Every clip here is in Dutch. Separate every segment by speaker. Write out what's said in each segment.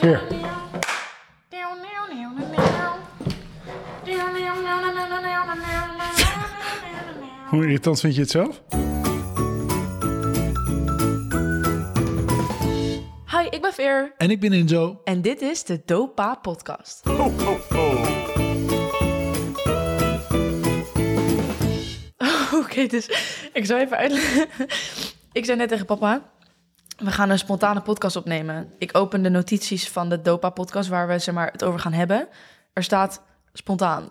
Speaker 1: Here. Hoe irritant vind je het zelf?
Speaker 2: Hi, ik ben Veer.
Speaker 1: En ik ben Inzo.
Speaker 2: En dit is de Dopa Podcast.
Speaker 1: Ho, ho, ho.
Speaker 2: Oké, dus ik zal even uitleggen. ik zei net tegen papa, we gaan een spontane podcast opnemen. Ik open de notities van de Dopa Podcast waar we zeg maar, het over gaan hebben. Er staat spontaan.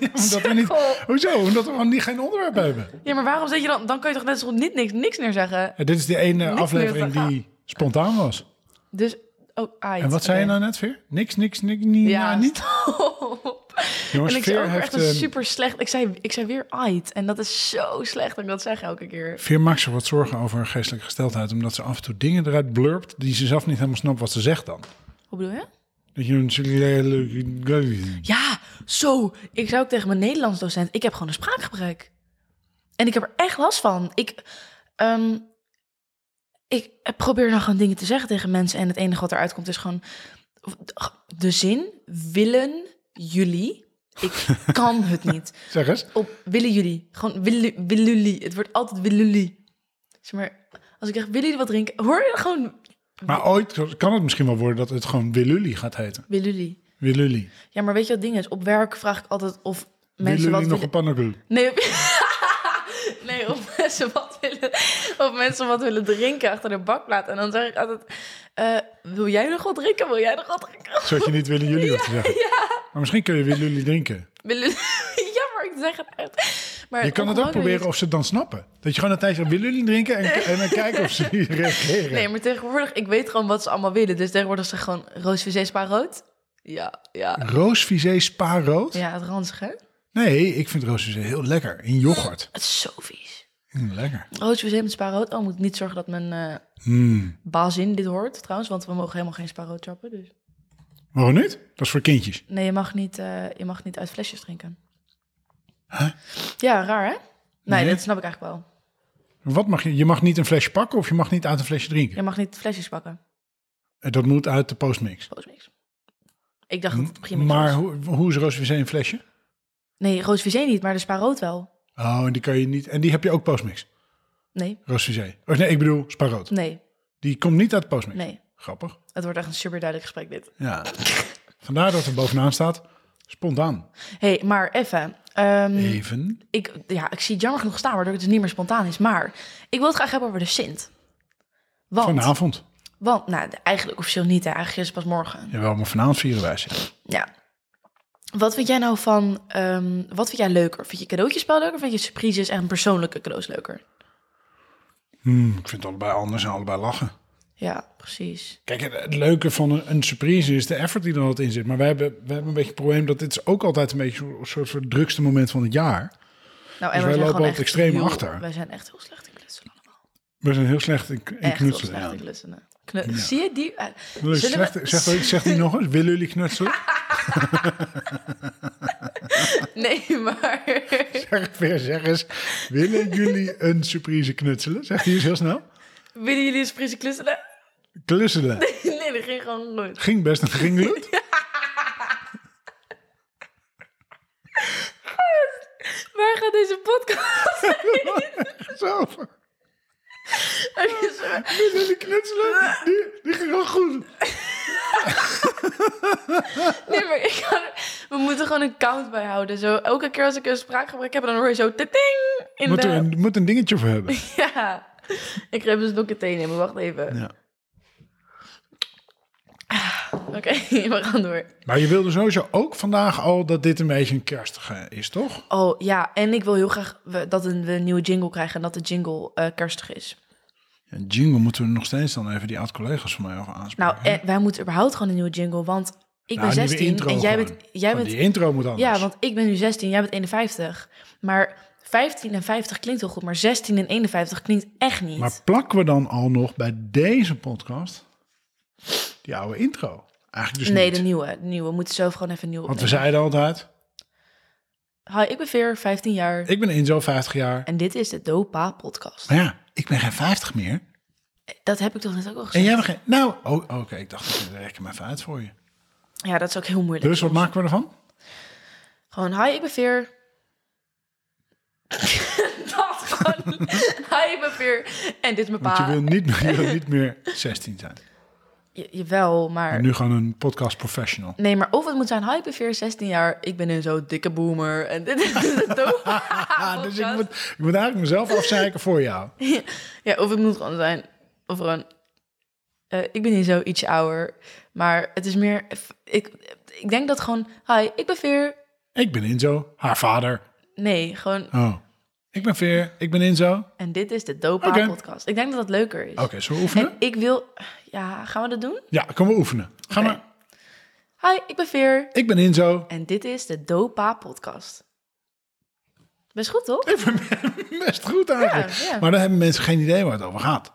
Speaker 1: Omdat we niet,
Speaker 2: Sukkel.
Speaker 1: hoezo? Omdat we gewoon niet geen onderwerp hebben.
Speaker 2: Ja, maar waarom zet je dan? Dan kan je toch net zo goed niet, niks, niks meer zeggen.
Speaker 1: En dit is de ene
Speaker 2: meer
Speaker 1: aflevering
Speaker 2: te gaan.
Speaker 1: die spontaan was.
Speaker 2: Dus, oh, ah,
Speaker 1: En wat zei je nou net, Veer? Niks, niks, niks, niet,
Speaker 2: Ja,
Speaker 1: ja, niet.
Speaker 2: stop.
Speaker 1: Jongens,
Speaker 2: en ik zei
Speaker 1: Veer
Speaker 2: ook echt
Speaker 1: heeft...
Speaker 2: een
Speaker 1: een-
Speaker 2: super slecht... Ik zei, ik zei weer ait. En dat is zo slecht dat ik dat zeg elke keer.
Speaker 1: Veer maakt zich wat zorgen over haar geestelijke gesteldheid... omdat ze af en toe dingen eruit blurpt... die ze zelf niet helemaal snapt wat ze zegt dan.
Speaker 2: Hoe bedoel je?
Speaker 1: Dat je een...
Speaker 2: Ja, zo. Ik zei ook tegen mijn Nederlands docent, ik heb gewoon een spraakgebrek. En ik heb er echt last van. Ik, ehm, ik probeer nog gewoon dingen te zeggen tegen mensen. En het enige wat eruit komt is gewoon de zin, willen jullie. Ik kan het niet.
Speaker 1: Zeg eens.
Speaker 2: Op willen jullie. Gewoon willen, willen jullie. Het wordt altijd willen jullie. Zeg maar, als ik zeg willen jullie wat drinken, hoor je gewoon
Speaker 1: Maar ooit kan het misschien wel worden dat het gewoon Willully gaat heten.
Speaker 2: willen jullie.
Speaker 1: Willully.
Speaker 2: Ja, maar weet je wat het ding is? Op werk vraag ik altijd of mensen wat
Speaker 1: Willully nog
Speaker 2: willen.
Speaker 1: een pannenkoek.
Speaker 2: Nee, nee of, mensen wat willen, of mensen wat willen drinken achter de bakplaat. En dan zeg ik altijd, eh, wil jij nog wat drinken? Wil jij nog wat drinken?
Speaker 1: Zodat je niet willen jullie wat te zeggen. Maar misschien kun je Willully drinken.
Speaker 2: Willen- ja, maar ik zeg het echt. Maar
Speaker 1: Je kan het ook
Speaker 2: ongemakkelijk
Speaker 1: proberen of ze het dan snappen. Dat je gewoon een tijdje willen jullie drinken en, en dan kijken of ze reageren.
Speaker 2: is- Nee, maar tegenwoordig, ik weet gewoon wat ze allemaal willen. Dus tegenwoordig zeg ik gewoon roos, visé, spa, rood. Ja, ja.
Speaker 1: Roosvisé spaarrood?
Speaker 2: Ja, het ranzige.
Speaker 1: Nee, ik vind roosvisé heel lekker. In yoghurt.
Speaker 2: Het is zo vies.
Speaker 1: Mm, lekker.
Speaker 2: Roos, visé met spa, rood. Oh, moet niet zorgen dat mijn eh
Speaker 1: Mm.
Speaker 2: bazin dit hoort, trouwens. Want we mogen helemaal geen spa, rood trappen. Dus.
Speaker 1: Waarom niet? Dat is voor kindjes.
Speaker 2: Nee, je mag niet, eh, je mag niet uit flesjes drinken. Ja, raar hè? Nee,
Speaker 1: Nee.
Speaker 2: dat snap ik eigenlijk wel.
Speaker 1: Wat mag je? Je mag niet een flesje pakken of je mag niet uit een flesje drinken.
Speaker 2: Je mag niet flesjes pakken.
Speaker 1: En Dat moet uit de postmix.
Speaker 2: Roos niks. Ik dacht dat het begin met
Speaker 1: Maar
Speaker 2: roos-
Speaker 1: hoe, hoe is roosvisé een flesje?
Speaker 2: Nee, roos visé niet, maar de spa rood wel.
Speaker 1: Oh, en die kan je niet. En die heb je ook postmix.
Speaker 2: Nee,
Speaker 1: Roosvisé. Oh, nee, ik bedoel spaarrood.
Speaker 2: nee,
Speaker 1: Die komt niet uit de postmix.
Speaker 2: nee.
Speaker 1: Grappig.
Speaker 2: Het wordt echt een super duidelijk gesprek dit.
Speaker 1: Ja. Vandaar dat er bovenaan staat. Spontaan.
Speaker 2: hey, maar even. ehm,
Speaker 1: Even.
Speaker 2: ik, ja, ik zie het jammer genoeg staan, waardoor het dus niet meer spontaan is. Maar ik wil het graag hebben over de Sint. Want,
Speaker 1: Vanavond.
Speaker 2: want nou, eigenlijk officieel niet. Hè. Eigenlijk is het pas morgen.
Speaker 1: Jawel, maar vanavond vieren wij ze.
Speaker 2: Ja. Wat vind jij nou van, ehm, wat vind jij leuker? Vind je cadeautjespel leuker of vind je surprises en persoonlijke cadeaus leuker?
Speaker 1: Hmm, ik vind het allebei anders en allebei lachen.
Speaker 2: Ja, precies.
Speaker 1: Kijk, het, het leuke van een, een surprise is de effort die er altijd in zit. Maar wij hebben, wij hebben een beetje het probleem dat dit is ook altijd een beetje een soort van het drukste moment van het jaar.
Speaker 2: Nou,
Speaker 1: Dus wij
Speaker 2: we
Speaker 1: lopen altijd extreem achter.
Speaker 2: Wij zijn echt heel slecht in klutselen allemaal.
Speaker 1: We zijn heel slecht in, in
Speaker 2: Echt
Speaker 1: knutselen.
Speaker 2: heel slecht
Speaker 1: ja.
Speaker 2: in klutselen. Knu- Zie je die? eh,
Speaker 1: Leuk,
Speaker 2: zullen
Speaker 1: slecht-
Speaker 2: we-
Speaker 1: zeg, zeg die nog eens. Willen jullie knutselen?
Speaker 2: Nee, maar...
Speaker 1: Zeg, weer, zeg eens. Willen jullie een surprise knutselen? Zegt hij eens heel snel.
Speaker 2: Willen jullie een surprise klutselen?
Speaker 1: Klusselen.
Speaker 2: Nee, dat ging gewoon nooit.
Speaker 1: Ging best en ging goed.
Speaker 2: Waar gaat deze podcast
Speaker 1: Zo.
Speaker 2: over?
Speaker 1: Willen jullie knutselen? Die, die ging wel goed.
Speaker 2: Nee, maar ik kan, we moeten gewoon een count bijhouden. Zo, elke keer als ik een spraakgebrek heb, dan hoor je zo... Ting, in
Speaker 1: Moet
Speaker 2: de...
Speaker 1: er een, moet een dingetje voor hebben.
Speaker 2: Ja, ik ga even een slokje thee nemen. Wacht even.
Speaker 1: Ja.
Speaker 2: Oké, we gaan door.
Speaker 1: Maar je wilde sowieso ook vandaag al dat dit een beetje een kerstige is, toch?
Speaker 2: Oh ja, en ik wil heel graag we- dat een- we een nieuwe jingle krijgen en dat de jingle eh, kerstig is.
Speaker 1: Ja, jingle moeten we nog steeds dan even die oud-collega's van mij over
Speaker 2: Nou,
Speaker 1: aanspreken.
Speaker 2: eh, wij moeten überhaupt gewoon een nieuwe jingle, want ik
Speaker 1: Nou,
Speaker 2: ben
Speaker 1: een nieuwe
Speaker 2: 16
Speaker 1: intro
Speaker 2: en jij
Speaker 1: gewoon.
Speaker 2: bent... Jij
Speaker 1: Want
Speaker 2: bent
Speaker 1: Die intro moet anders.
Speaker 2: ja, want ik ben nu 16, jij bent 51. Maar 15 en 50 klinkt heel goed, maar 16 en 51 klinkt echt niet.
Speaker 1: Maar plakken we dan al nog bij deze podcast die oude intro? Eigenlijk dus
Speaker 2: nee,
Speaker 1: niet.
Speaker 2: de nieuwe, de nieuwe. We moeten zelf gewoon even een nieuwe
Speaker 1: Want we
Speaker 2: opnemen.
Speaker 1: zeiden altijd,
Speaker 2: Hi, ik ben Veer, 15 jaar.
Speaker 1: ik ben Inzo, 50 jaar.
Speaker 2: En dit is de Dopa podcast.
Speaker 1: Maar ja, ik ben geen 50 meer.
Speaker 2: Dat heb ik toch net ook al gezegd.
Speaker 1: En jij begint... Nou, oh, oké, ik dacht, ik rek hem even uit voor je.
Speaker 2: Ja, dat is ook heel moeilijk.
Speaker 1: Dus wat maken we ervan?
Speaker 2: Gewoon, hi, ik ben Veer. dat gewoon. hi, ik ben Veer. En dit is mijn
Speaker 1: Want je
Speaker 2: pa.
Speaker 1: wil niet, meer- je wil niet meer 16 zijn.
Speaker 2: Je- jawel, maar...
Speaker 1: En nu gaan een podcast professional.
Speaker 2: Nee, maar of het moet zijn, hi, ik ben Veer, 16 jaar. Ik ben een zo dikke boomer. En dit is het dope.
Speaker 1: Ah, dus ik
Speaker 2: podcast.
Speaker 1: moet, ik moet eigenlijk mezelf afzeiken voor jou.
Speaker 2: Ja, of het moet gewoon zijn. Of gewoon. eh, ik ben niet zo iets ouder. Maar het is meer. Ik, ik denk dat gewoon. Hi, ik ben Veer.
Speaker 1: Ik ben Inzo, haar vader.
Speaker 2: Nee, gewoon.
Speaker 1: Oh. Ik ben Veer, ik ben Inzo. Oké,
Speaker 2: En dit is de Dopa
Speaker 1: Oké.
Speaker 2: podcast. Ik denk dat dat leuker is.
Speaker 1: zullen we oefenen?
Speaker 2: Ik wil. Ja, gaan we dat doen?
Speaker 1: Ja, kunnen we oefenen. Ga
Speaker 2: Oké.
Speaker 1: maar.
Speaker 2: Hi, ik ben Veer.
Speaker 1: Ik ben Inzo.
Speaker 2: En dit is de Dopa podcast. Best goed, toch?
Speaker 1: Ik ben best goed eigenlijk.
Speaker 2: Ja, ja.
Speaker 1: Maar dan hebben mensen geen idee waar het over gaat.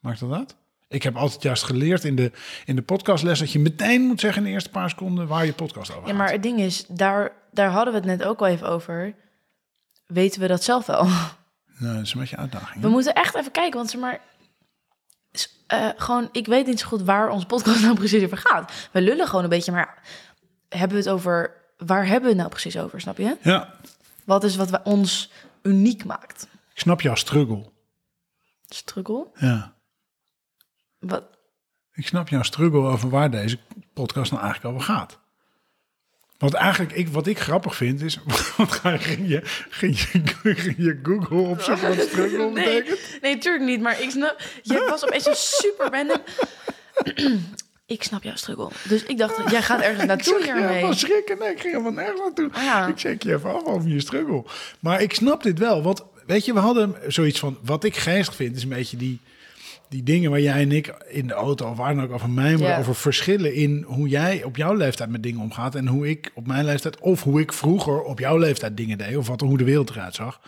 Speaker 1: Maakt dat dat? Ik heb altijd juist geleerd in de, in de podcastles dat je meteen moet zeggen in de eerste paar seconden waar je podcast over gaat.
Speaker 2: Ja, maar het ding is, daar, daar hadden we het net ook al even over. Weten we dat zelf wel?
Speaker 1: Nou, dat is een beetje een uitdaging.
Speaker 2: We
Speaker 1: hè?
Speaker 2: moeten echt even kijken, want zeg maar... s- eh, gewoon, ik weet niet zo goed waar onze podcast nou precies over gaat. We lullen gewoon een beetje, maar hebben we het over... Waar hebben we het nou precies over, snap je?
Speaker 1: Ja,
Speaker 2: Wat is wat we- ons uniek maakt?
Speaker 1: ik snap jouw struggle.
Speaker 2: Struggle?
Speaker 1: Ja.
Speaker 2: Wat?
Speaker 1: Ik snap jouw struggle over waar deze podcast nou eigenlijk over gaat. Want eigenlijk, ik, wat ik grappig vind is... Want ga je- ging je, ging je, ging je Google opzoeken wat struggle
Speaker 2: Nee,
Speaker 1: betekent?
Speaker 2: nee, tuurlijk niet, maar ik snap... Jij was opeens zo super random. ik snap jouw struggle. Dus ik dacht, jij gaat ergens naartoe
Speaker 1: Ik ging
Speaker 2: hiermee.
Speaker 1: helemaal schrikken. Nee, ik ging helemaal nergens naartoe.
Speaker 2: Ah, ja.
Speaker 1: Ik oh, check je even af over je struggle. Maar ik snap dit wel. Want weet je, we hadden zoiets van... Wat ik geestig vind is een beetje die, die dingen waar jij en ik in de auto... of waar dan ook over mij, maar
Speaker 2: Ja.
Speaker 1: over verschillen in hoe jij op jouw leeftijd met dingen omgaat... en hoe ik op mijn leeftijd... of hoe ik vroeger op jouw leeftijd dingen deed... of wat, hoe de wereld eruit zag.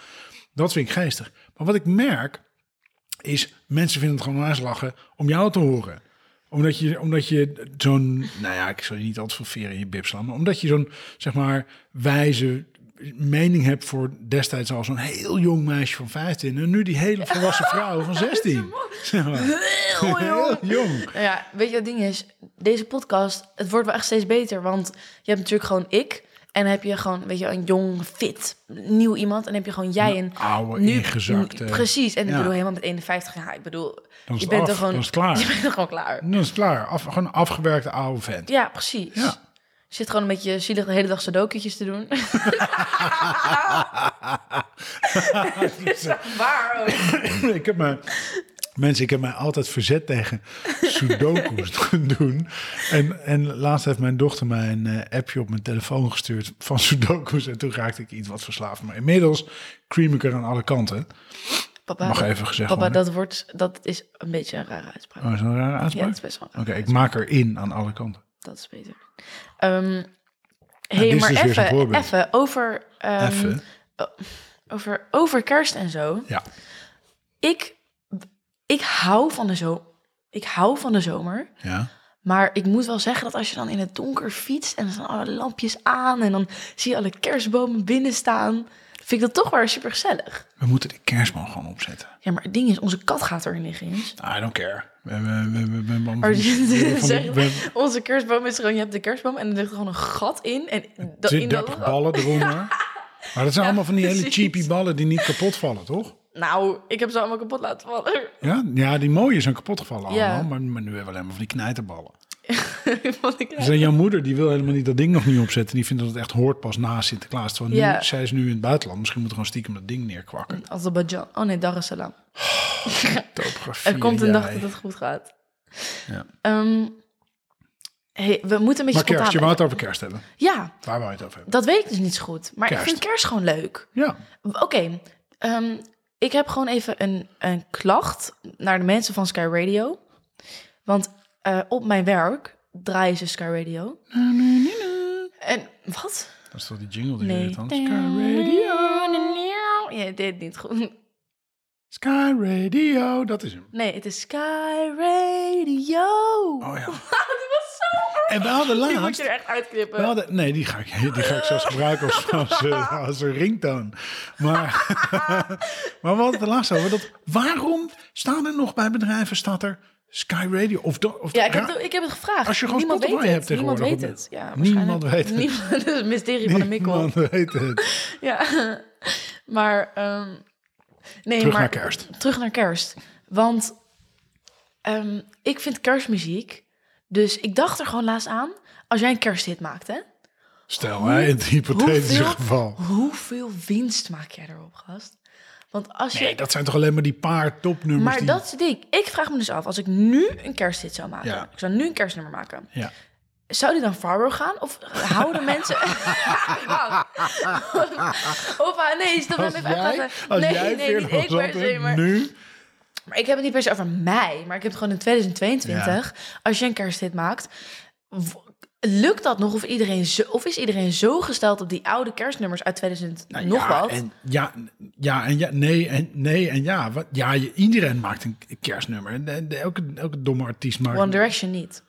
Speaker 1: Dat vind ik geestig. Maar wat ik merk is... mensen vinden het gewoon aanslagen om jou te horen omdat je, omdat je zo'n, nou ja, ik zal je niet altijd veel veren in je bib slaan, maar omdat je zo'n, zeg maar, wijze mening hebt voor destijds al zo'n heel jong meisje van 15 en nu die hele volwassen vrouw van 16. Zeg maar.
Speaker 2: Heel jong.
Speaker 1: Heel jong.
Speaker 2: Nou ja, weet je wat het ding is? Deze podcast, het wordt wel echt steeds beter. Want je hebt natuurlijk gewoon ik. En dan heb je gewoon, weet je, een jong, fit, nieuw iemand. En dan heb je gewoon jij en...
Speaker 1: Oude,
Speaker 2: Nu,
Speaker 1: ingezakte.
Speaker 2: precies. En ik
Speaker 1: ja.
Speaker 2: bedoel, helemaal met 51 jaar. Ik bedoel,
Speaker 1: Dan is het
Speaker 2: je bent
Speaker 1: af,
Speaker 2: er gewoon...
Speaker 1: dan is het klaar.
Speaker 2: Je bent er gewoon klaar.
Speaker 1: Dan is het klaar. Af, gewoon een afgewerkte oude vent.
Speaker 2: Ja, precies.
Speaker 1: Ja.
Speaker 2: Je zit gewoon een beetje zielig de hele dag sudoku'tjes te doen. Het is echt waar ook.
Speaker 1: ik heb mij, mensen, ik heb mij altijd verzet tegen sudoku's doen. En, en laatst heeft mijn dochter mij een eh, appje op mijn telefoon gestuurd van sudoku's. En toen raakte ik iets wat verslaafd. Maar inmiddels cream ik er aan alle kanten.
Speaker 2: Papa,
Speaker 1: Mag even gezegd
Speaker 2: papa
Speaker 1: worden.
Speaker 2: dat, wordt, dat is een beetje een rare uitspraak.
Speaker 1: Oh, is dat een rare
Speaker 2: ja,
Speaker 1: uitspraak?
Speaker 2: dat is best wel een
Speaker 1: Oké,
Speaker 2: rare
Speaker 1: ik maak er in aan alle kanten.
Speaker 2: Dat is beter. Ehm
Speaker 1: dit
Speaker 2: hey,
Speaker 1: is
Speaker 2: maar
Speaker 1: dus weer zo'n
Speaker 2: even,
Speaker 1: voorbeeld.
Speaker 2: even over, ehm,
Speaker 1: Even.
Speaker 2: over, over kerst en zo.
Speaker 1: Ja.
Speaker 2: Ik, ik hou van de zomer. Ik hou van de zomer.
Speaker 1: Ja.
Speaker 2: Maar ik moet wel zeggen dat als je dan in het donker fietst en er zijn alle lampjes aan en dan zie je alle kerstbomen binnen staan, vind ik dat toch wel super gezellig.
Speaker 1: We moeten die kerstman gewoon opzetten.
Speaker 2: Ja, maar het ding is, onze kat gaat er niet eens.
Speaker 1: I don't care. We hebben we, we, we, we,
Speaker 2: Maar
Speaker 1: we,
Speaker 2: Oh, zeg,
Speaker 1: we,
Speaker 2: onze kerstboom is gewoon, je hebt de kerstboom en er ligt gewoon een gat in. En dat, in dat
Speaker 1: 30
Speaker 2: gat-
Speaker 1: ballen eronder. Maar dat zijn allemaal van die hele
Speaker 2: precies.
Speaker 1: cheapy ballen die niet kapot vallen, toch?
Speaker 2: Nou, ik heb ze allemaal kapot laten vallen.
Speaker 1: Ja, ja die mooie zijn kapot gevallen
Speaker 2: Ja.
Speaker 1: allemaal, maar, maar nu hebben we alleen maar van die knijterballen.
Speaker 2: Want ik-
Speaker 1: Dus dan jouw moeder die wil helemaal niet dat ding nog niet opzetten. Die vindt dat het echt hoort pas na Sinterklaas. Terwijl nu,
Speaker 2: Ja.
Speaker 1: zij is nu in het buitenland. Misschien moet er gewoon stiekem dat ding neerkwakken.
Speaker 2: Azerbeidzjan. Oh nee, Dar es Salaam.
Speaker 1: Topografie.
Speaker 2: Er komt een dag
Speaker 1: jij.
Speaker 2: dat het goed gaat.
Speaker 1: Ja.
Speaker 2: Ehm, hey, we moeten een beetje
Speaker 1: Maar kerst, je
Speaker 2: spontaan
Speaker 1: wou het over kerst hebben.
Speaker 2: blijven. Ja,
Speaker 1: Waar wou je het over hebben?
Speaker 2: dat weet ik dus niet zo goed. Maar ik
Speaker 1: Kerst.
Speaker 2: vind kerst gewoon leuk.
Speaker 1: Ja,
Speaker 2: Oké, ehm, ik heb gewoon even een, een klacht naar de mensen van Sky Radio. Want eh, op mijn werk draaien ze Sky Radio. En wat?
Speaker 1: dat is toch die jingle die je
Speaker 2: Nee.
Speaker 1: weet dan? Sky Radio,
Speaker 2: Je deed niet goed.
Speaker 1: Sky Radio, dat is hem.
Speaker 2: Nee, het is Sky Radio.
Speaker 1: Oh ja.
Speaker 2: Die was zo
Speaker 1: En we hadden
Speaker 2: Die moet
Speaker 1: laatst...
Speaker 2: je er echt
Speaker 1: We
Speaker 2: uitknippen.
Speaker 1: hadden, nee, die ga, ik, die ga ik zelfs gebruiken als, als, eh, als een ringtoon. Maar, maar we hadden het er laatst over. Dat, waarom staan er nog bij bedrijven, staat er Sky Radio? Of, do- of
Speaker 2: Ja, ik
Speaker 1: ra-
Speaker 2: heb, het, ik heb het gevraagd.
Speaker 1: Als je gewoon
Speaker 2: Niemand
Speaker 1: Spotify
Speaker 2: weet
Speaker 1: hebt
Speaker 2: het. Niemand
Speaker 1: tegenwoordig
Speaker 2: weet
Speaker 1: op
Speaker 2: het.
Speaker 1: de-
Speaker 2: Ja,
Speaker 1: Niemand
Speaker 2: waarschijnlijk-
Speaker 1: weet het.
Speaker 2: Niemand- dat is het mysterie van de Mikkel.
Speaker 1: Niemand weet het.
Speaker 2: Ja. Maar, ehm, nee,
Speaker 1: Terug
Speaker 2: maar,
Speaker 1: naar kerst.
Speaker 2: Terug naar kerst. Want ehm, ik vind kerstmuziek... Dus ik dacht er gewoon laatst aan... Als jij een kersthit maakt, hè?
Speaker 1: Stel, hè, in het hypothetische
Speaker 2: hoeveel,
Speaker 1: geval.
Speaker 2: Hoeveel winst maak jij erop, gast? Want als je...
Speaker 1: Nee, dat zijn toch alleen maar die paar topnummers
Speaker 2: maar
Speaker 1: die...
Speaker 2: dat is het ding. Ik vraag me dus af, als ik nu een kersthit zou maken...
Speaker 1: Ja.
Speaker 2: Ik zou nu een kerstnummer maken...
Speaker 1: Ja.
Speaker 2: Zou die dan Fargo gaan? Of houden mensen... Wauw. of, ah, nee, stop
Speaker 1: Als
Speaker 2: even
Speaker 1: jij,
Speaker 2: uitpraten.
Speaker 1: als
Speaker 2: nee,
Speaker 1: jij
Speaker 2: nee, niet
Speaker 1: Veerle
Speaker 2: ik per se,
Speaker 1: Zandweg
Speaker 2: maar...
Speaker 1: nu...
Speaker 2: Maar ik heb het niet per se over mij, maar ik heb het gewoon in 2022. Als je een kersthit maakt, w- lukt dat nog? Of, iedereen zo, of is iedereen zo gesteld op die oude kerstnummers uit 2000 nog
Speaker 1: Nou ja,
Speaker 2: wat?
Speaker 1: En, ja, ja en ja, nee en, nee en ja. Wat, ja, je- iedereen maakt een kerstnummer. En- en Elke, elke domme artiest maakt...
Speaker 2: One Direction niet.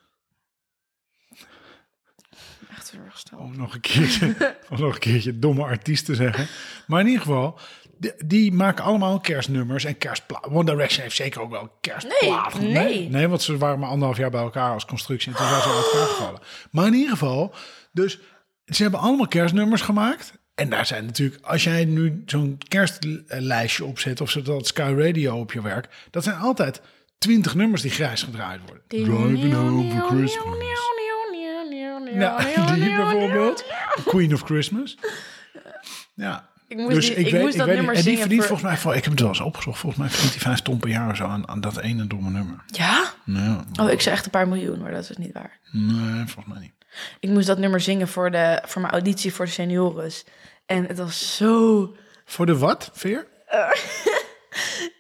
Speaker 2: Echt heel erg gesteld.
Speaker 1: Om nog een keertje, om nog een keertje domme artiest te zeggen. Maar in ieder geval, die, die maken allemaal kerstnummers en kerstplaten. One Direction heeft zeker ook wel een kerstplaat.
Speaker 2: Nee,
Speaker 1: gemaakt.
Speaker 2: nee.
Speaker 1: Nee, want ze waren maar anderhalf jaar bij elkaar als constructie. En toen zijn ze uit elkaar gevallen. Maar in ieder geval, dus ze hebben allemaal kerstnummers gemaakt. En daar zijn natuurlijk, als jij nu zo'n kerstlijstje opzet... of zodat Sky Radio op je werk... dat zijn altijd twintig nummers die grijs gedraaid worden. Driving home for Christmas. Ja, Nou, die bijvoorbeeld. Queen of Christmas. Ja. Dus
Speaker 2: Ik moest die- ik moest dat nummer
Speaker 1: En die
Speaker 2: zingen
Speaker 1: verdient
Speaker 2: voor-
Speaker 1: volgens mij, vol- ik heb het wel eens opgezocht, volgens mij verdient hij vijf ton per jaar of zo aan, aan dat ene domme nummer.
Speaker 2: Ja?
Speaker 1: Nou,
Speaker 2: Oh, ik zei echt een paar miljoen, maar dat is niet waar.
Speaker 1: nee, volgens mij niet.
Speaker 2: Ik moest dat nummer zingen voor, de, voor mijn auditie voor de seniores. En het was zo
Speaker 1: Voor de wat, Veer?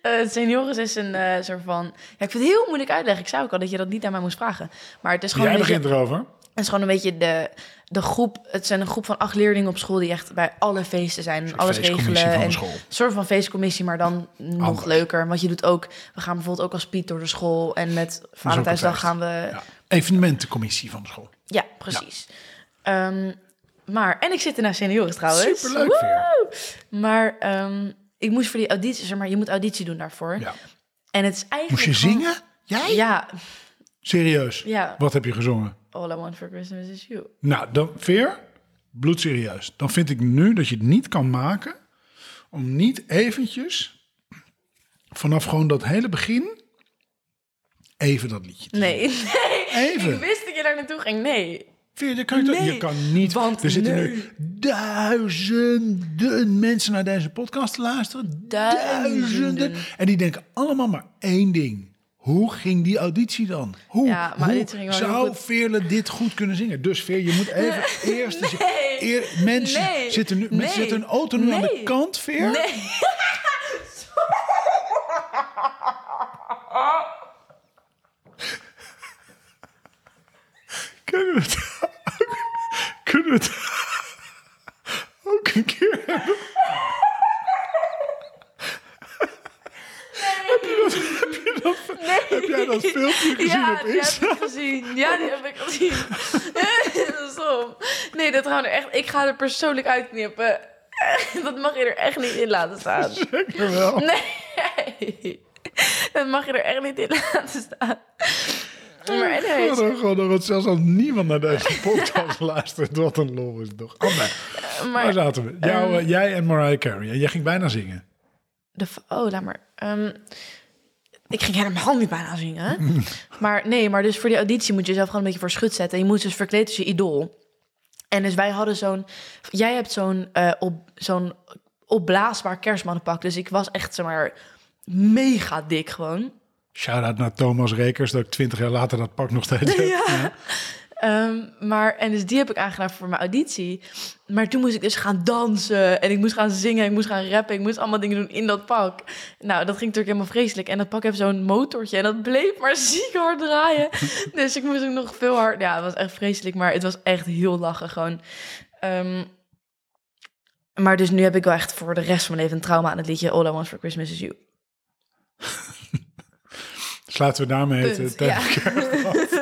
Speaker 2: Eh, senioris is een eh, soort van... Ja, ik vind het heel moeilijk uitleggen. Ik zei ook al dat je dat niet aan mij moest vragen. Maar het is gewoon,
Speaker 1: Jij
Speaker 2: een, beetje,
Speaker 1: begint erover.
Speaker 2: het is gewoon een beetje de, de groep... Het zijn een groep van acht leerlingen op school... die echt bij alle feesten zijn. en
Speaker 1: soort
Speaker 2: alles
Speaker 1: feestcommissie
Speaker 2: regelen.
Speaker 1: van de
Speaker 2: en
Speaker 1: school.
Speaker 2: Een soort van feestcommissie, maar dan nog
Speaker 1: Anders.
Speaker 2: leuker. Want je doet ook... We gaan bijvoorbeeld ook als Piet door de school. En met Valentijnsdag
Speaker 1: feest.
Speaker 2: gaan we...
Speaker 1: Ja. Evenementencommissie van de school.
Speaker 2: Ja, precies. Ehm, maar, en ik zit ernaast senioren trouwens.
Speaker 1: Superleuk, Veer.
Speaker 2: Woe! Maar ehm, ik moest voor die auditie, zeg maar, je moet auditie doen daarvoor.
Speaker 1: Ja.
Speaker 2: En het is eigenlijk.
Speaker 1: Moest je
Speaker 2: gewoon-
Speaker 1: zingen? Jij?
Speaker 2: Ja,
Speaker 1: Serieus?
Speaker 2: ja.
Speaker 1: Wat heb je gezongen?
Speaker 2: All I want for Christmas is you.
Speaker 1: Nou, dan, Veer, bloedserieus. Dan vind ik nu dat je het niet kan maken om niet eventjes vanaf gewoon dat hele begin even dat liedje. te
Speaker 2: Nee, nee.
Speaker 1: Even.
Speaker 2: Ik wist dat je daar naartoe ging. Nee.
Speaker 1: Veer, dat kan je, toch-
Speaker 2: Nee,
Speaker 1: je kan niet.
Speaker 2: want
Speaker 1: er zitten
Speaker 2: nee.
Speaker 1: nu duizenden mensen naar deze podcast te luisteren. Duizenden.
Speaker 2: Duizenden.
Speaker 1: En die denken allemaal maar één ding. Hoe ging die auditie dan? Hoe,
Speaker 2: Ja, maar
Speaker 1: hoe
Speaker 2: auditie ging wel heel
Speaker 1: zou
Speaker 2: goed.
Speaker 1: Veerle dit goed kunnen zingen? Dus Veer, je moet even eerst... eens- eer- mensen
Speaker 2: Nee.
Speaker 1: zitten nu... Mensen
Speaker 2: Nee.
Speaker 1: zitten een auto nu aan de
Speaker 2: Nee.
Speaker 1: kant, Veer.
Speaker 2: Nee.
Speaker 1: Kunnen we het... Kunnen we het... Ook een keer hebben? Heb jij dat filmpje gezien
Speaker 2: ja,
Speaker 1: op
Speaker 2: die heb
Speaker 1: Insta?
Speaker 2: ik gezien. Ja, die heb ik gezien. Stom. Nee, dat gaan we er echt. Ik ga er persoonlijk uitknippen. Dat mag je er echt niet in laten staan.
Speaker 1: Zeker wel.
Speaker 2: Nee. Dat mag je er echt niet in laten staan. Maar anyways,
Speaker 1: Wat een godde, want zelfs als niemand naar deze podcast luistert, wat een lol is het toch. Anne, waar
Speaker 2: maar
Speaker 1: zaten we? Jou, eh, jij en Mariah Carey. En jij ging bijna zingen.
Speaker 2: De, v- oh, laat maar. Ehm, ik ging helemaal niet bijna zingen. maar nee, maar dus voor die auditie moet je jezelf gewoon een beetje voor schut zetten. Je moet dus verkleed als je idool. En dus wij hadden zo'n... Jij hebt zo'n eh, op, zo'n opblaasbaar kerstmannenpak. Dus ik was echt, zeg maar, mega dik gewoon.
Speaker 1: Shout-out naar Thomas Rekers, dat ik twintig jaar later dat pak nog steeds heb.
Speaker 2: Ja. Ehm, maar, en dus die heb ik aangedaan voor mijn auditie. Maar toen moest ik dus gaan dansen. En ik moest gaan zingen. Ik moest gaan rappen. Ik moest allemaal dingen doen in dat pak. Nou, dat ging natuurlijk helemaal vreselijk. En dat pak heeft zo'n motortje. En dat bleef maar ziek hard draaien. dus ik moest ook nog veel hard. Ja, het was echt vreselijk. Maar het was echt heel lachen gewoon. Ehm, maar dus nu heb ik wel echt voor de rest van mijn leven een trauma aan het liedje All I Want For Christmas Is You.
Speaker 1: Sluiten we daarmee het, eh,
Speaker 2: Punt.
Speaker 1: het-
Speaker 2: Ja.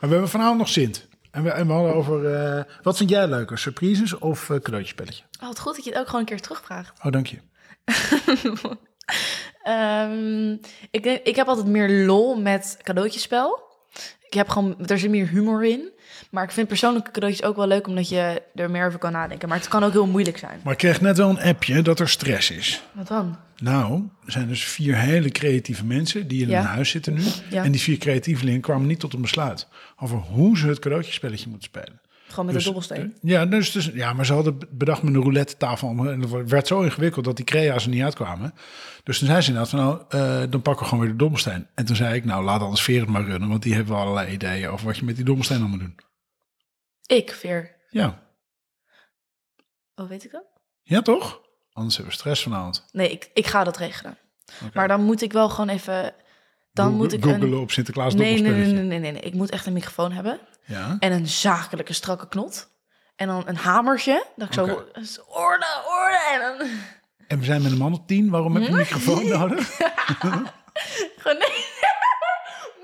Speaker 1: Maar we hebben vanavond nog Sint. En we, en we hadden over... eh, wat vind jij leuker, surprises of eh cadeautjespelletje?
Speaker 2: Oh, wat goed dat je het ook gewoon een keer terugvraagt.
Speaker 1: Oh, dank je.
Speaker 2: Ehm, ik, denk- ik heb altijd meer lol met cadeautjespel. Ik heb gewoon, er zit meer humor in. Maar ik vind persoonlijke cadeautjes ook wel leuk, omdat je er meer over kan nadenken. Maar het kan ook heel moeilijk zijn.
Speaker 1: Maar ik kreeg net wel een appje dat er stress is.
Speaker 2: Wat dan?
Speaker 1: Nou, er zijn dus vier hele creatieve mensen die in
Speaker 2: Ja.
Speaker 1: hun huis zitten nu.
Speaker 2: Ja.
Speaker 1: En die vier creatievelingen kwamen niet tot een besluit over hoe ze het cadeautjespelletje moeten spelen.
Speaker 2: Gewoon met
Speaker 1: Dus,
Speaker 2: een dobbelsteen.
Speaker 1: eh, ja, dus, dus, ja, maar ze hadden bedacht met een roulette tafel. om- En dat werd zo ingewikkeld dat die crea's er niet uitkwamen. Dus toen zei ze inderdaad van nou, eh, dan pakken we gewoon weer de dobbelsteen. En toen zei ik nou, laat anders Veer het maar runnen. Want die hebben wel allerlei ideeën over wat je met die dobbelsteen allemaal doen.
Speaker 2: Ik, Veer.
Speaker 1: Ja,
Speaker 2: Oh, weet ik dat?
Speaker 1: ja toch? Anders hebben we stress vanavond.
Speaker 2: Nee, ik, ik ga dat regelen.
Speaker 1: Oké.
Speaker 2: Maar dan moet ik wel gewoon even... Dan
Speaker 1: Google-
Speaker 2: moet ik een...
Speaker 1: Googelen op Sinterklaas
Speaker 2: Nee, nee, nee,
Speaker 1: dobbelspelletje.
Speaker 2: nee, nee, nee, nee. Ik moet echt een microfoon hebben.
Speaker 1: Ja?
Speaker 2: En een zakelijke strakke knot. En dan een hamertje. Dat ik zo...
Speaker 1: Oké.
Speaker 2: Orde, orde. En dan...
Speaker 1: En we zijn met een man op tien. Waarom heb je een microfoon nodig?
Speaker 2: Gewoon, nee.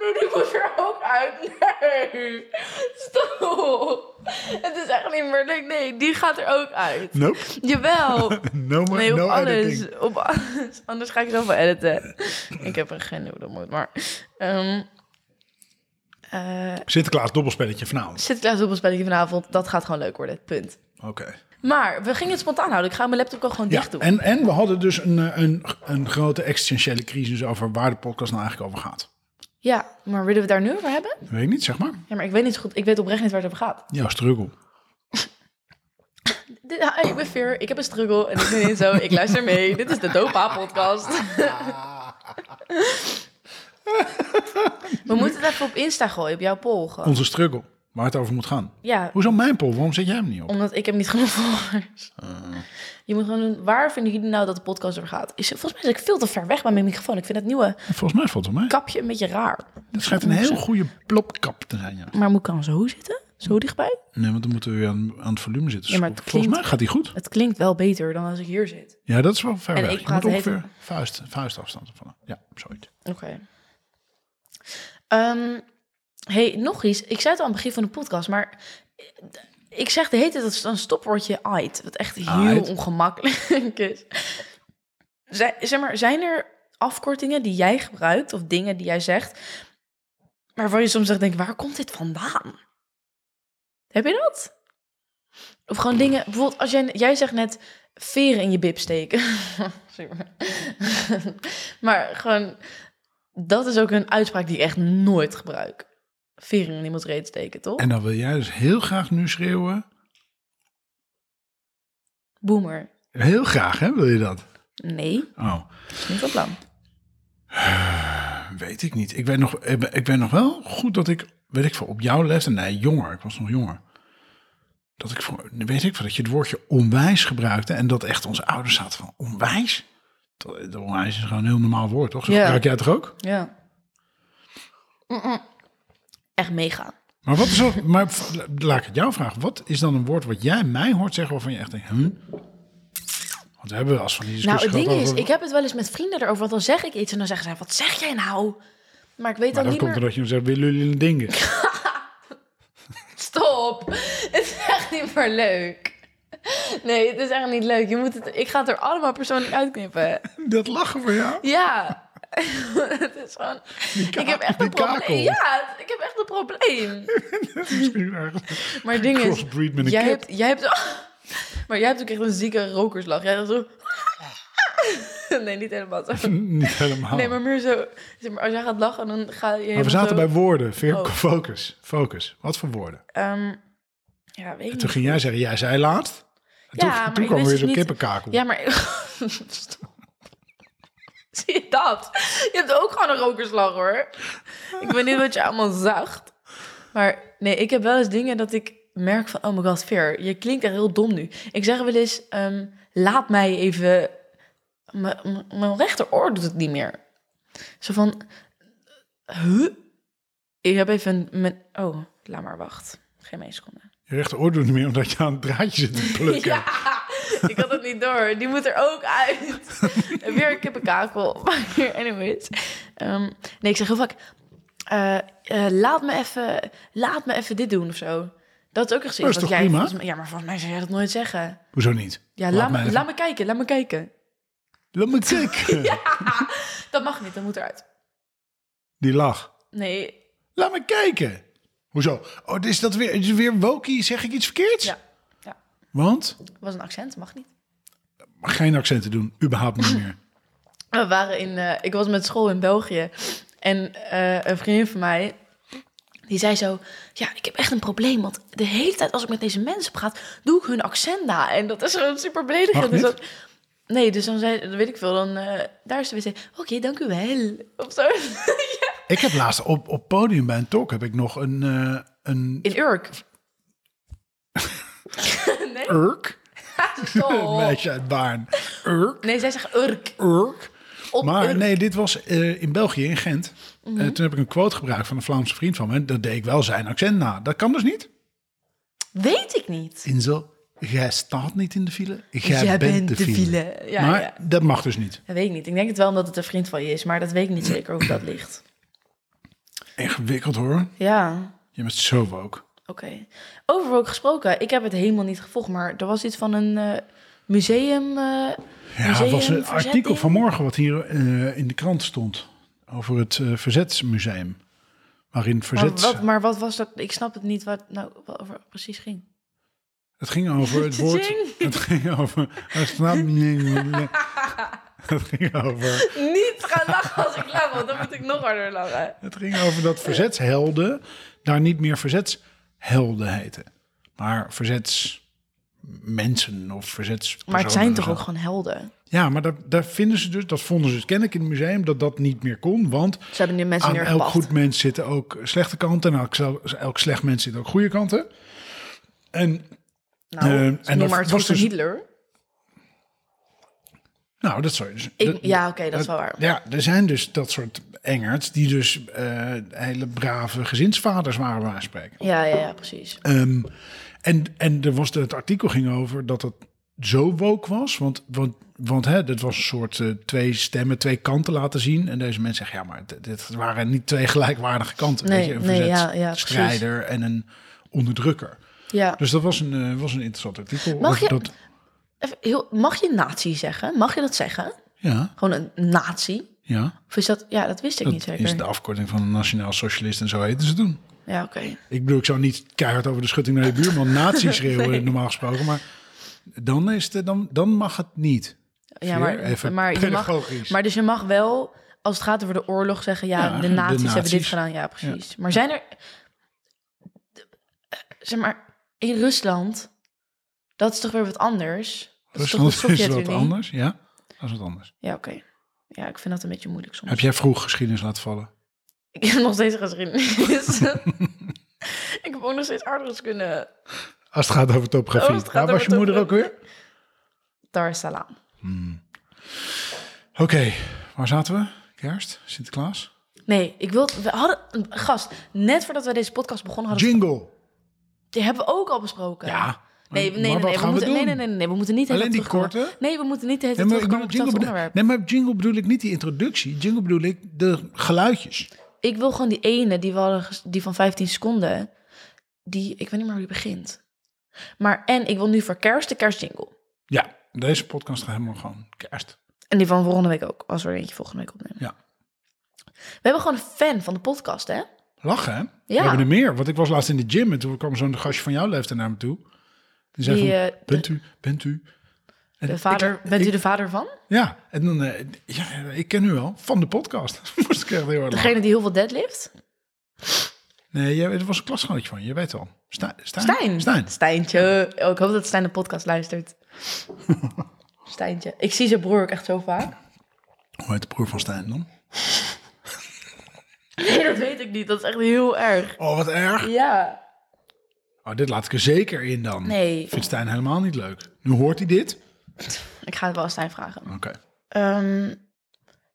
Speaker 2: Nee, dit moet er ook uit. Nee. Stop. Het is echt niet meer leuk. Nee, die gaat er ook uit.
Speaker 1: Nope.
Speaker 2: Jawel.
Speaker 1: No, ma-
Speaker 2: Nee, op
Speaker 1: no editing.
Speaker 2: alles. Op alles. Anders ga ik zoveel editen. Ik heb er geen idee hoe dat moet, maar... ehm eh
Speaker 1: Sinterklaas dobbelspelletje vanavond.
Speaker 2: Sinterklaas dobbelspelletje vanavond, dat gaat gewoon leuk worden. Punt.
Speaker 1: Oké.
Speaker 2: Maar we gingen het spontaan houden. Ik ga mijn laptop ook gewoon
Speaker 1: Ja,
Speaker 2: dicht doen.
Speaker 1: en, en we hadden dus een, eh, een, een grote existentiële crisis over waar de podcast nou eigenlijk over gaat.
Speaker 2: Ja, maar willen we het daar nu over hebben?
Speaker 1: Weet ik niet, zeg maar.
Speaker 2: Ja, maar ik weet niet zo goed. Ik weet oprecht niet waar het over gaat.
Speaker 1: Ja, struggle.
Speaker 2: Dit- ah, ik ben Veer, ik heb een struggle en ik ben in zo, ik luister mee. Dit is de Dopa-podcast. We moeten het even op Insta gooien, op jouw poll gewoon.
Speaker 1: Onze struggle. Waar het over moet gaan.
Speaker 2: Ja,
Speaker 1: Hoezo mijn pol? Waarom zet jij hem niet op?
Speaker 2: omdat ik heb niet genoeg volgers. Je moet gewoon doen, waar vinden jullie nou dat de podcast over gaat? Is, volgens mij zit ik veel te ver weg bij mijn microfoon. Ik vind het nieuwe
Speaker 1: Volgens mij valt het wel mee.
Speaker 2: kapje een beetje raar.
Speaker 1: Dat schijnt een heel goede plopkap te zijn, ja.
Speaker 2: Maar moet ik dan zo zitten? Zo dichtbij?
Speaker 1: Nee, want dan moeten we weer aan, aan het volume zitten.
Speaker 2: Ja, maar het
Speaker 1: Volgens
Speaker 2: klinkt-
Speaker 1: mij gaat die goed.
Speaker 2: Het klinkt wel beter dan als ik hier zit.
Speaker 1: Ja, dat is wel ver
Speaker 2: En
Speaker 1: weg.
Speaker 2: ik
Speaker 1: Je
Speaker 2: praat
Speaker 1: moet
Speaker 2: de hele-
Speaker 1: ongeveer vuist, vuistafstand ervan. Ja, zoiets.
Speaker 2: Oké. Ehm, hey, nog iets. Ik zei het al aan het begin van de podcast, maar eh, ik zeg de hele tijd dat is een stopwoordje ait, wat echt heel
Speaker 1: Ait.
Speaker 2: ongemakkelijk is. Zij- zeg maar, zijn er afkortingen die jij gebruikt of dingen die jij zegt, waarvan je soms echt denkt, waar komt dit vandaan? Heb je dat? Of gewoon dingen, bijvoorbeeld als jij, jij zegt net veren in je bib steken. Super. maar gewoon, dat is ook een uitspraak die ik echt nooit gebruik. Veren in iemands reet steken, toch?
Speaker 1: En dan wil jij dus heel graag nu schreeuwen.
Speaker 2: Boomer.
Speaker 1: Heel graag, hè? Wil je dat?
Speaker 2: Nee,
Speaker 1: Oh.
Speaker 2: dat is niet van plan.
Speaker 1: Weet ik niet. Ik weet nog, ik ben- ik weet nog wel goed dat ik, weet ik veel, op jouw les, nee, jonger, ik was nog jonger. Dat ik, voor, weet ik veel, dat je het woordje onwijs gebruikte en dat echt onze ouders zaten van onwijs. Dat, dat onwijs is gewoon een heel normaal woord, toch? Zo
Speaker 2: Ja.
Speaker 1: gebruik jij het toch ook?
Speaker 2: Ja. Echt meegaan.
Speaker 1: Maar wat is dat, maar v- la- laat ik het jou vragen. Wat is dan een woord wat jij mij hoort zeggen waarvan je echt denkt, hm? Want we hebben Dus wel eens van die
Speaker 2: Nou,
Speaker 1: discussie
Speaker 2: het ding
Speaker 1: gehad
Speaker 2: is,
Speaker 1: over-
Speaker 2: ik heb het wel eens met vrienden erover, want dan zeg ik iets en dan zeggen zij, wat zeg jij nou? Maar ik weet
Speaker 1: Maar
Speaker 2: dan
Speaker 1: dat
Speaker 2: niet
Speaker 1: komt
Speaker 2: meer...
Speaker 1: omdat je hem zegt, willen jullie een ding?
Speaker 2: Stop! Het is echt niet meer leuk. Nee, het is echt niet leuk. Je moet het... Ik ga het er allemaal persoonlijk uitknippen.
Speaker 1: dat lachen voor jou.
Speaker 2: Ja. het is gewoon... ik heb echt
Speaker 1: die
Speaker 2: een probleem.
Speaker 1: kakel.
Speaker 2: Ja, ik heb echt een probleem.
Speaker 1: Misschien ergens.
Speaker 2: Maar het ding is,
Speaker 1: Crossbreed met een
Speaker 2: jij
Speaker 1: kip.
Speaker 2: hebt, jij hebt, maar jij hebt ook echt een zieke rokerslag. Jij gaat zo. Nee, niet helemaal zo.
Speaker 1: Niet helemaal.
Speaker 2: Nee, maar meer zo. zeg maar, als jij gaat lachen, dan ga je.
Speaker 1: Maar we
Speaker 2: helemaal
Speaker 1: zaten
Speaker 2: zo,
Speaker 1: bij woorden. Veer,
Speaker 2: Oh.
Speaker 1: focus. Focus. Wat voor woorden?
Speaker 2: ehm,
Speaker 1: En
Speaker 2: ja, weet ik
Speaker 1: toen
Speaker 2: niet.
Speaker 1: ging jij zeggen, jij zei laatst. En
Speaker 2: Ja,
Speaker 1: toen,
Speaker 2: maar
Speaker 1: toen
Speaker 2: ik
Speaker 1: kwam
Speaker 2: wist
Speaker 1: weer
Speaker 2: het
Speaker 1: zo'n
Speaker 2: niet.
Speaker 1: kippenkakel.
Speaker 2: Ja, maar. Stop. Zie je dat? Je hebt ook gewoon een rokerslag hoor. Ik weet niet wat je allemaal zacht. Maar nee, ik heb wel eens dingen dat ik merk van... Oh my god, Ver, je klinkt echt heel dom nu. Ik zeg wel eens, ehm, laat mij even... M- m- Mijn rechteroor doet het niet meer. Zo van... Huh? Ik heb even... Mijn, oh, laat maar, wacht. Geen één seconde.
Speaker 1: Je rechteroor doet niet meer omdat je aan het draadje zit te plukken.
Speaker 2: Ja, ik had het niet door. Die moet er ook uit. En Weer een kippenkakel. Maar anyways. Ehm, nee, ik zeg heel vaak... eh, eh, laat, me even, laat me even dit doen of zo. Dat is ook gezien.
Speaker 1: Maar is toch
Speaker 2: jij,
Speaker 1: prima?
Speaker 2: volgens mij- ja, maar volgens mij zou jij dat nooit zeggen.
Speaker 1: Hoezo niet?
Speaker 2: Ja,
Speaker 1: Laat
Speaker 2: laat,
Speaker 1: me
Speaker 2: me,
Speaker 1: even-
Speaker 2: laat me kijken, laat me kijken.
Speaker 1: Laat me kijken.
Speaker 2: Dat mag niet, dat moet eruit.
Speaker 1: Die lach.
Speaker 2: Nee,
Speaker 1: Laat me kijken. Hoezo? Oh, is dat weer, is het weer wokie? Zeg ik iets verkeerds?
Speaker 2: ja. ja.
Speaker 1: Want?
Speaker 2: was een accent, mag niet.
Speaker 1: Mag geen accenten doen. Überhaupt niet meer.
Speaker 2: We waren in, eh, ik was met school in België. En eh, een vriendin van mij, die zei zo... Ja, ik heb echt een probleem, want de hele tijd als ik met deze mensen praat... doe ik hun accent na. En dat is gewoon super beledigend.
Speaker 1: Mag
Speaker 2: Dus
Speaker 1: niet?
Speaker 2: dat- nee, dus dan zei, dan weet ik veel, dan... eh, daar is de wc. Oké, dank u wel. Of zo.
Speaker 1: Ik heb laatst op, op podium bij een talk heb ik nog een, eh, een
Speaker 2: In Urk. nee,
Speaker 1: Urk. Een
Speaker 2: stop.
Speaker 1: meisje uit Baarn. Urk.
Speaker 2: Nee, zij zegt Urk.
Speaker 1: Urk.
Speaker 2: Op
Speaker 1: maar
Speaker 2: Urk. Mhm.
Speaker 1: nee, dit was eh, in België, in Gent. Eh, toen heb ik een quote gebruikt van een Vlaamse vriend van me. Dat deed ik wel zijn accent na. Dat kan dus niet.
Speaker 2: Weet ik niet.
Speaker 1: Inzo, jij staat niet in de file. Jij,
Speaker 2: Jij
Speaker 1: bent,
Speaker 2: bent
Speaker 1: de
Speaker 2: de
Speaker 1: file.
Speaker 2: file. Ja,
Speaker 1: maar
Speaker 2: ja.
Speaker 1: dat mag dus niet.
Speaker 2: Dat weet ik niet. Ik denk het wel omdat het een vriend van je is, maar dat weet ik niet zeker hoe dat ligt.
Speaker 1: Ingewikkeld hoor.
Speaker 2: Ja,
Speaker 1: Je bent zo woke.
Speaker 2: Oké. Over ook gesproken, ik heb het helemaal niet gevolgd, maar er was iets van een eh, museum. eh,
Speaker 1: Ja, het was een
Speaker 2: museumverzetting.
Speaker 1: artikel vanmorgen wat hier eh, in de krant stond. Over het eh, Verzetsmuseum. Waarin
Speaker 2: Maar
Speaker 1: verzet...
Speaker 2: wat, maar wat was dat? Ik snap het niet wat nou wat over precies ging.
Speaker 1: Het ging over het woord...
Speaker 2: Tjing.
Speaker 1: Het ging over... Het ging- het ging over...
Speaker 2: Niet gaan lachen als ik lach, want dan moet ik nog harder lachen.
Speaker 1: Het ging over dat verzetshelden daar niet meer verzetshelden heten. Maar verzetsmensen of verzetspersonen.
Speaker 2: Maar het zijn
Speaker 1: of
Speaker 2: toch
Speaker 1: zo.
Speaker 2: ook gewoon helden?
Speaker 1: Ja, maar daar, daar vinden ze dus, dat vonden ze dus kennelijk in het museum, dat dat niet meer kon. Want
Speaker 2: Ze hebben nu mensen
Speaker 1: aan
Speaker 2: meer
Speaker 1: elk goed mens zitten ook slechte kanten en aan elk, elk slecht mens zitten ook goede kanten. En
Speaker 2: Nou,
Speaker 1: eh, en
Speaker 2: en
Speaker 1: dat
Speaker 2: noem maar het
Speaker 1: was
Speaker 2: was
Speaker 1: dus-
Speaker 2: Hitler.
Speaker 1: nou, dat zou je dus...
Speaker 2: Ik,
Speaker 1: dat-
Speaker 2: ja, oké, dat is wel waar.
Speaker 1: Ja, er zijn dus dat soort engerts die dus eh, hele brave gezinsvaders waren, bij wijze van spreken.
Speaker 2: Ja, ja, ja, precies.
Speaker 1: Ehm, en en er was, het artikel ging over dat het zo woke was. Want, want, want hè, dat was een soort eh, twee stemmen, twee kanten laten zien. En deze mensen zeggen, ja, maar dit, dit waren niet twee gelijkwaardige kanten.
Speaker 2: Nee,
Speaker 1: weet je? Een
Speaker 2: nee, ja, ja, precies.
Speaker 1: verzetsstrijder en een onderdrukker.
Speaker 2: Ja.
Speaker 1: Dus dat was een, eh, was een interessant artikel.
Speaker 2: Mag
Speaker 1: Of
Speaker 2: je-
Speaker 1: Dat,
Speaker 2: Even heel, mag je nazi zeggen? Mag je dat zeggen?
Speaker 1: ja,
Speaker 2: Gewoon een nazi?
Speaker 1: ja.
Speaker 2: Of is dat... Ja, dat wist ik
Speaker 1: Dat
Speaker 2: niet zeker.
Speaker 1: is de afkorting van een nationaal socialist en zo heten ze doen.
Speaker 2: Ja, oké.
Speaker 1: Ik bedoel, ik zou niet keihard over de schutting naar je buurman nazi schreeuwen normaal gesproken. Maar dan, is het, dan, dan mag het niet.
Speaker 2: Ja,
Speaker 1: Veer,
Speaker 2: maar,
Speaker 1: even
Speaker 2: maar, je
Speaker 1: pedagogisch.
Speaker 2: mag, maar dus je mag wel, als het gaat over de oorlog, zeggen... ja,
Speaker 1: Ja,
Speaker 2: de
Speaker 1: de
Speaker 2: nazi's hebben dit
Speaker 1: nazi's.
Speaker 2: gedaan. Ja, precies. Maar zijn er... Zeg maar, in Rusland, dat is toch weer wat anders? Dat is toch
Speaker 1: Rusland
Speaker 2: de
Speaker 1: is, wat
Speaker 2: Sovjet-Unie?
Speaker 1: anders, ja. Dat is wat anders.
Speaker 2: Ja, oké. Ja, ik vind dat een beetje moeilijk soms.
Speaker 1: Heb jij vroeg geschiedenis laten vallen?
Speaker 2: Ik heb nog steeds geschiedenis. ik heb ook nog steeds aardrijkskunde.
Speaker 1: Als het gaat over topografie.
Speaker 2: Oh, als het gaat
Speaker 1: Waar was
Speaker 2: over
Speaker 1: je moeder ook
Speaker 2: topografie.
Speaker 1: weer?
Speaker 2: Dar es Salaam.
Speaker 1: Oké, waar zaten we? Kerst?
Speaker 2: Oh,
Speaker 1: Sinterklaas?
Speaker 2: Nee, ik wil... We hadden... een Gast, net voordat we deze podcast begonnen hadden...
Speaker 1: Jingle.
Speaker 2: Die hebben we ook al besproken.
Speaker 1: Ja.
Speaker 2: Eh, Nee,
Speaker 1: Maar-
Speaker 2: nee,
Speaker 1: maar wat
Speaker 2: nee, nee, we
Speaker 1: gaan we
Speaker 2: moeten, nee,
Speaker 1: doen?
Speaker 2: nee, nee, nee, we moeten niet
Speaker 1: Alleen die
Speaker 2: terugkomen.
Speaker 1: korte?
Speaker 2: Nee, maar we moeten niet de hele tijd
Speaker 1: Nee, maar, ik
Speaker 2: terugkomen
Speaker 1: bedoel,
Speaker 2: op
Speaker 1: jingle
Speaker 2: hetzelfde
Speaker 1: bedoel,
Speaker 2: onderwerp.
Speaker 1: nee, maar jingle bedoel ik niet die introductie. Jingle bedoel ik de geluidjes.
Speaker 2: Ik wil gewoon die ene die we hadden, ges- die van 15 seconden, die ik weet niet meer hoe die begint. Maar en ik wil nu voor kerst de kerstjingle.
Speaker 1: Ja, deze podcast gaat helemaal gewoon kerst.
Speaker 2: En die van volgende week ook, als we er eentje volgende week opnemen.
Speaker 1: Ja.
Speaker 2: We hebben gewoon een fan van de podcast, hè?
Speaker 1: Lachen, hè? We hebben er meer. Want ik was laatst in de gym en toen kwam zo'n gastje van jouw leeftijd naar me toe. Die zei
Speaker 2: Die,
Speaker 1: van,
Speaker 2: eh,
Speaker 1: bent u, bent u... En
Speaker 2: De
Speaker 1: ik-
Speaker 2: vader, bent
Speaker 1: ik-
Speaker 2: u de vader van?
Speaker 1: Ja, en dan, eh, ja, ik ken u wel, van de podcast. Moest ik echt heel hard lachen.
Speaker 2: Degene die heel veel deadlift?
Speaker 1: Nee, jij, er was een klasgenootje van je, je weet al. Stijn. Stijn.
Speaker 2: Stijn.
Speaker 1: Stijn.
Speaker 2: Stijntje. Oh, ik hoop dat Stijn de podcast luistert. Stijntje. Ik zie zijn broer ook echt zo vaak.
Speaker 1: Hoe heet de broer van Stijn dan?
Speaker 2: Nee, dat weet ik niet. Dat is echt heel erg.
Speaker 1: Oh, wat erg.
Speaker 2: Ja.
Speaker 1: Oh, dit laat ik er zeker in dan.
Speaker 2: Nee,
Speaker 1: Vindt Stijn helemaal niet leuk. Nu hoort hij dit.
Speaker 2: ik ga het wel aan Stijn vragen.
Speaker 1: Oké.
Speaker 2: Ehm,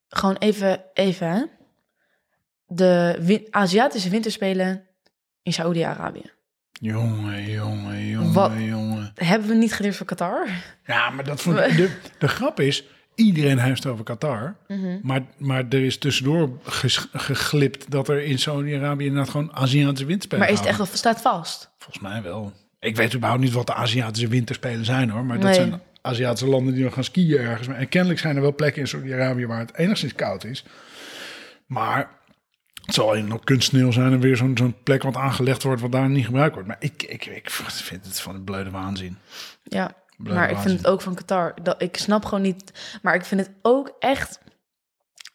Speaker 2: gewoon even, even hè. De win- Aziatische winterspelen in Saoedi-Arabië.
Speaker 1: Jongen, jongen, jongen,
Speaker 2: Wat?
Speaker 1: jongen.
Speaker 2: Hebben we niet geleerd van Qatar?
Speaker 1: Ja, maar dat vond de, de grap is, iedereen heeft het over Qatar.
Speaker 2: Mhm.
Speaker 1: Maar, maar er is tussendoor ges- geglipt dat er in Saudi-Arabië inderdaad gewoon Aziatische winterspelen
Speaker 2: Maar is het echt,
Speaker 1: houden.
Speaker 2: wel- staat vast?
Speaker 1: Volgens mij wel. Ik weet überhaupt niet wat de Aziatische winterspelen zijn hoor. Maar dat
Speaker 2: Nee.
Speaker 1: zijn Aziatische landen die nog gaan skiën ergens. En kennelijk zijn er wel plekken in Saudi-Arabië waar het enigszins koud is. Maar het zal alleen nog kunstsneeuw zijn en weer zo'n zo'n plek wat aangelegd wordt wat daar niet gebruikt wordt. Maar ik, ik, ik vind het van de bleude waanzin.
Speaker 2: Ja,
Speaker 1: Blijf
Speaker 2: maar ik vind
Speaker 1: waanzin.
Speaker 2: het ook van Qatar. Dat, ik snap gewoon niet. Maar ik vind het ook echt.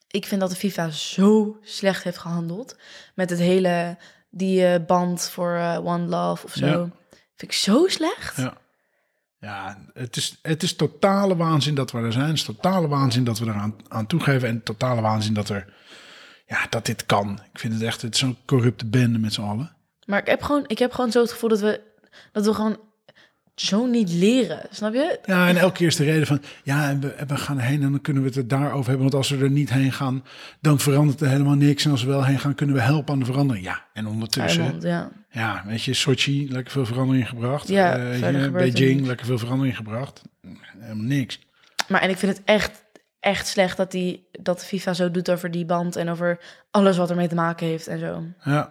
Speaker 2: Ik vind dat de FIFA zo slecht heeft gehandeld. Met het hele. Die eh, band voor eh, One Love of zo.
Speaker 1: Ja.
Speaker 2: Vind ik zo slecht.
Speaker 1: Ja. Ja, het is, het is totale waanzin dat we er zijn. Het is totale waanzin dat we eraan aan toegeven. En totale waanzin dat, er, ja, dat dit kan. Ik vind het echt het is zo'n corrupte bende met z'n allen.
Speaker 2: Maar ik heb, gewoon, ik heb gewoon zo het gevoel dat we. Dat we gewoon zo niet leren. Snap je?
Speaker 1: Ja, en elke keer is de reden van... ja, en we, en we gaan heen en dan kunnen we het er daarover hebben. Want als we er niet heen gaan, dan verandert er helemaal niks. En als we wel heen gaan, kunnen we helpen aan de verandering. Ja, en ondertussen...
Speaker 2: Armand, ja.
Speaker 1: Ja, weet je, Sochi, lekker veel verandering gebracht.
Speaker 2: Ja,
Speaker 1: Eh,
Speaker 2: verder
Speaker 1: hier,
Speaker 2: gebeurt er
Speaker 1: Beijing,
Speaker 2: niks.
Speaker 1: lekker veel verandering gebracht. Helemaal niks.
Speaker 2: Maar en ik vind het echt, echt slecht dat, die, dat de FIFA zo doet over die band en over alles wat ermee te maken heeft en zo.
Speaker 1: Ja.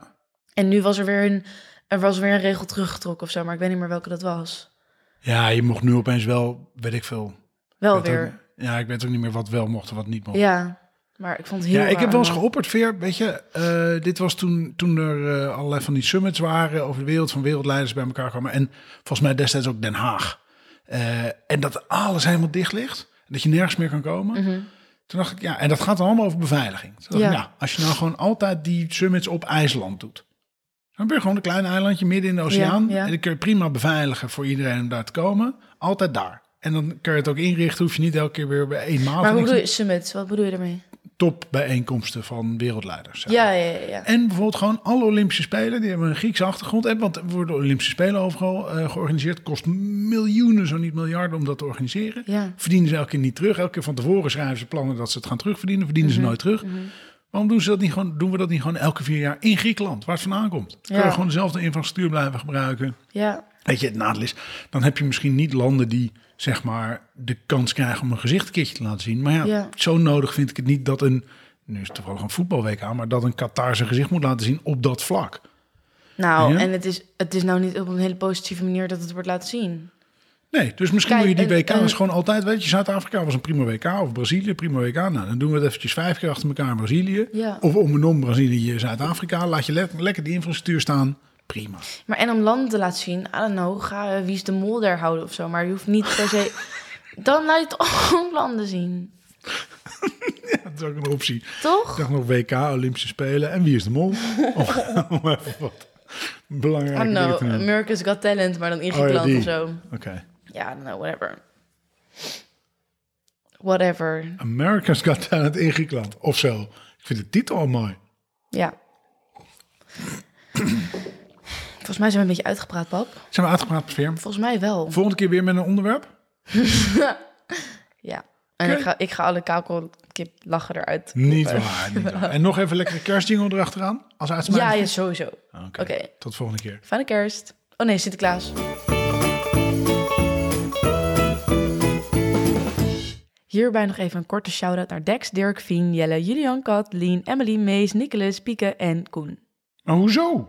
Speaker 2: En nu was er weer een, er was weer een regel teruggetrokken of zo, maar ik weet niet meer welke dat was.
Speaker 1: Ja, je mocht nu opeens wel, weet ik veel.
Speaker 2: Wel
Speaker 1: Ik weet
Speaker 2: weer.
Speaker 1: ook- ja, ik weet ook niet meer wat wel mocht en wat niet mocht. Ja,
Speaker 2: Ja, maar ik vond het heel.
Speaker 1: ik heb
Speaker 2: raar,
Speaker 1: wel eens
Speaker 2: man.
Speaker 1: geopperd, Veer. Weet je, eh, dit was toen, toen er eh, allerlei van die summits waren over de wereld, van wereldleiders bij elkaar kwamen. En volgens mij destijds ook Den Haag. Eh, en dat alles helemaal dicht ligt. en Dat je nergens meer kan komen. Toen dacht ik, ja, en dat gaat dan allemaal over beveiliging. Toen dacht
Speaker 2: Mhm. Ja.
Speaker 1: ik, nou, als je nou gewoon altijd die summits op IJsland doet. Dan ben je gewoon een klein eilandje midden in de oceaan.
Speaker 2: Ja, ja.
Speaker 1: En dan kun je prima beveiligen voor iedereen om daar te komen. Altijd daar. En dan kun je het ook inrichten. Hoef je niet elke keer weer bij eenmaal
Speaker 2: Maar hoe bedoel je, Summit, wat bedoel je daarmee?
Speaker 1: topbijeenkomsten van wereldleiders. zeg
Speaker 2: Ja, ja, ja. ja.
Speaker 1: en bijvoorbeeld gewoon alle Olympische Spelen, die hebben een Griekse achtergrond. En want er worden Olympische Spelen overal eh, georganiseerd. Kost miljoenen, zo niet miljarden om dat te organiseren.
Speaker 2: Ja.
Speaker 1: Verdienen ze elke keer niet terug. Elke keer van tevoren schrijven ze plannen dat ze het gaan terugverdienen. Verdienen
Speaker 2: Mhm,
Speaker 1: ze nooit terug. Waarom doen, ze dat niet gewoon, doen we dat niet gewoon elke vier jaar in Griekenland, waar het vandaan komt? Dan Kunnen
Speaker 2: Ja.
Speaker 1: we gewoon dezelfde infrastructuur blijven gebruiken.
Speaker 2: ja.
Speaker 1: Weet je, het nadeel is, dan heb je misschien niet landen die zeg maar de kans krijgen om een gezicht een keertje te laten zien. Maar ja,
Speaker 2: Ja.
Speaker 1: zo nodig vind ik het niet dat een, nu is het toevallig een voetbalweek aan, maar dat een Qatar zijn gezicht moet laten zien op dat vlak.
Speaker 2: Nou,
Speaker 1: Ja?
Speaker 2: en het is, het is nou niet op een hele positieve manier dat het wordt laten zien.
Speaker 1: Nee, dus misschien
Speaker 2: Kijk,
Speaker 1: moet je die
Speaker 2: en-
Speaker 1: WK's
Speaker 2: en-
Speaker 1: gewoon altijd, weet je, Zuid-Afrika was een prima WK of Brazilië, prima WK. Nou, dan doen we het eventjes vijf keer achter elkaar in Brazilië.
Speaker 2: Ja.
Speaker 1: Of om en om Brazilië, Zuid-Afrika. Laat je le- lekker die infrastructuur staan. Prima.
Speaker 2: Maar en om landen te laten zien, I don't know, ga eh, wie is de mol daar houden of zo. Maar je hoeft niet per se. Dan laat je het ook landen zien,
Speaker 1: Dat is ook een optie. Ik
Speaker 2: toch?
Speaker 1: dacht nog WK, Olympische Spelen en Wie is de Mol? Om- Om even wat
Speaker 2: I don't
Speaker 1: belangrijke dingen
Speaker 2: know,
Speaker 1: te noemen.
Speaker 2: America's Got Talent, maar dan in
Speaker 1: Oh ja,
Speaker 2: Griekenland
Speaker 1: die.
Speaker 2: Ah, nou, of zo.
Speaker 1: Oké.
Speaker 2: Ja, I don't know, whatever. Whatever,
Speaker 1: America's Got Talent in Griekenland. Of zo. Ik vind de titel al mooi.
Speaker 2: ja. Volgens mij zijn we een beetje uitgepraat, pap.
Speaker 1: Zijn we uitgepraat, Veer?
Speaker 2: Volgens mij wel.
Speaker 1: Volgende keer weer met een onderwerp?
Speaker 2: Ja. En
Speaker 1: Oké.
Speaker 2: ik ga, ik ga alle kakelkip lachen eruit.
Speaker 1: Niet waar, niet waar. En nog even lekkere kerstjingle erachteraan? Als uitspraak?
Speaker 2: Ja, ja, sowieso.
Speaker 1: Oké.
Speaker 2: Oké.
Speaker 1: Tot volgende keer.
Speaker 2: Fijne kerst. Oh nee, Sinterklaas. Hierbij nog even een korte shout-out naar Dex, Dirk, Fien, Jelle, Julian, Kat, Lien, Emily, Mees, Nicolas, Pieke en Koen.
Speaker 1: Maar hoezo?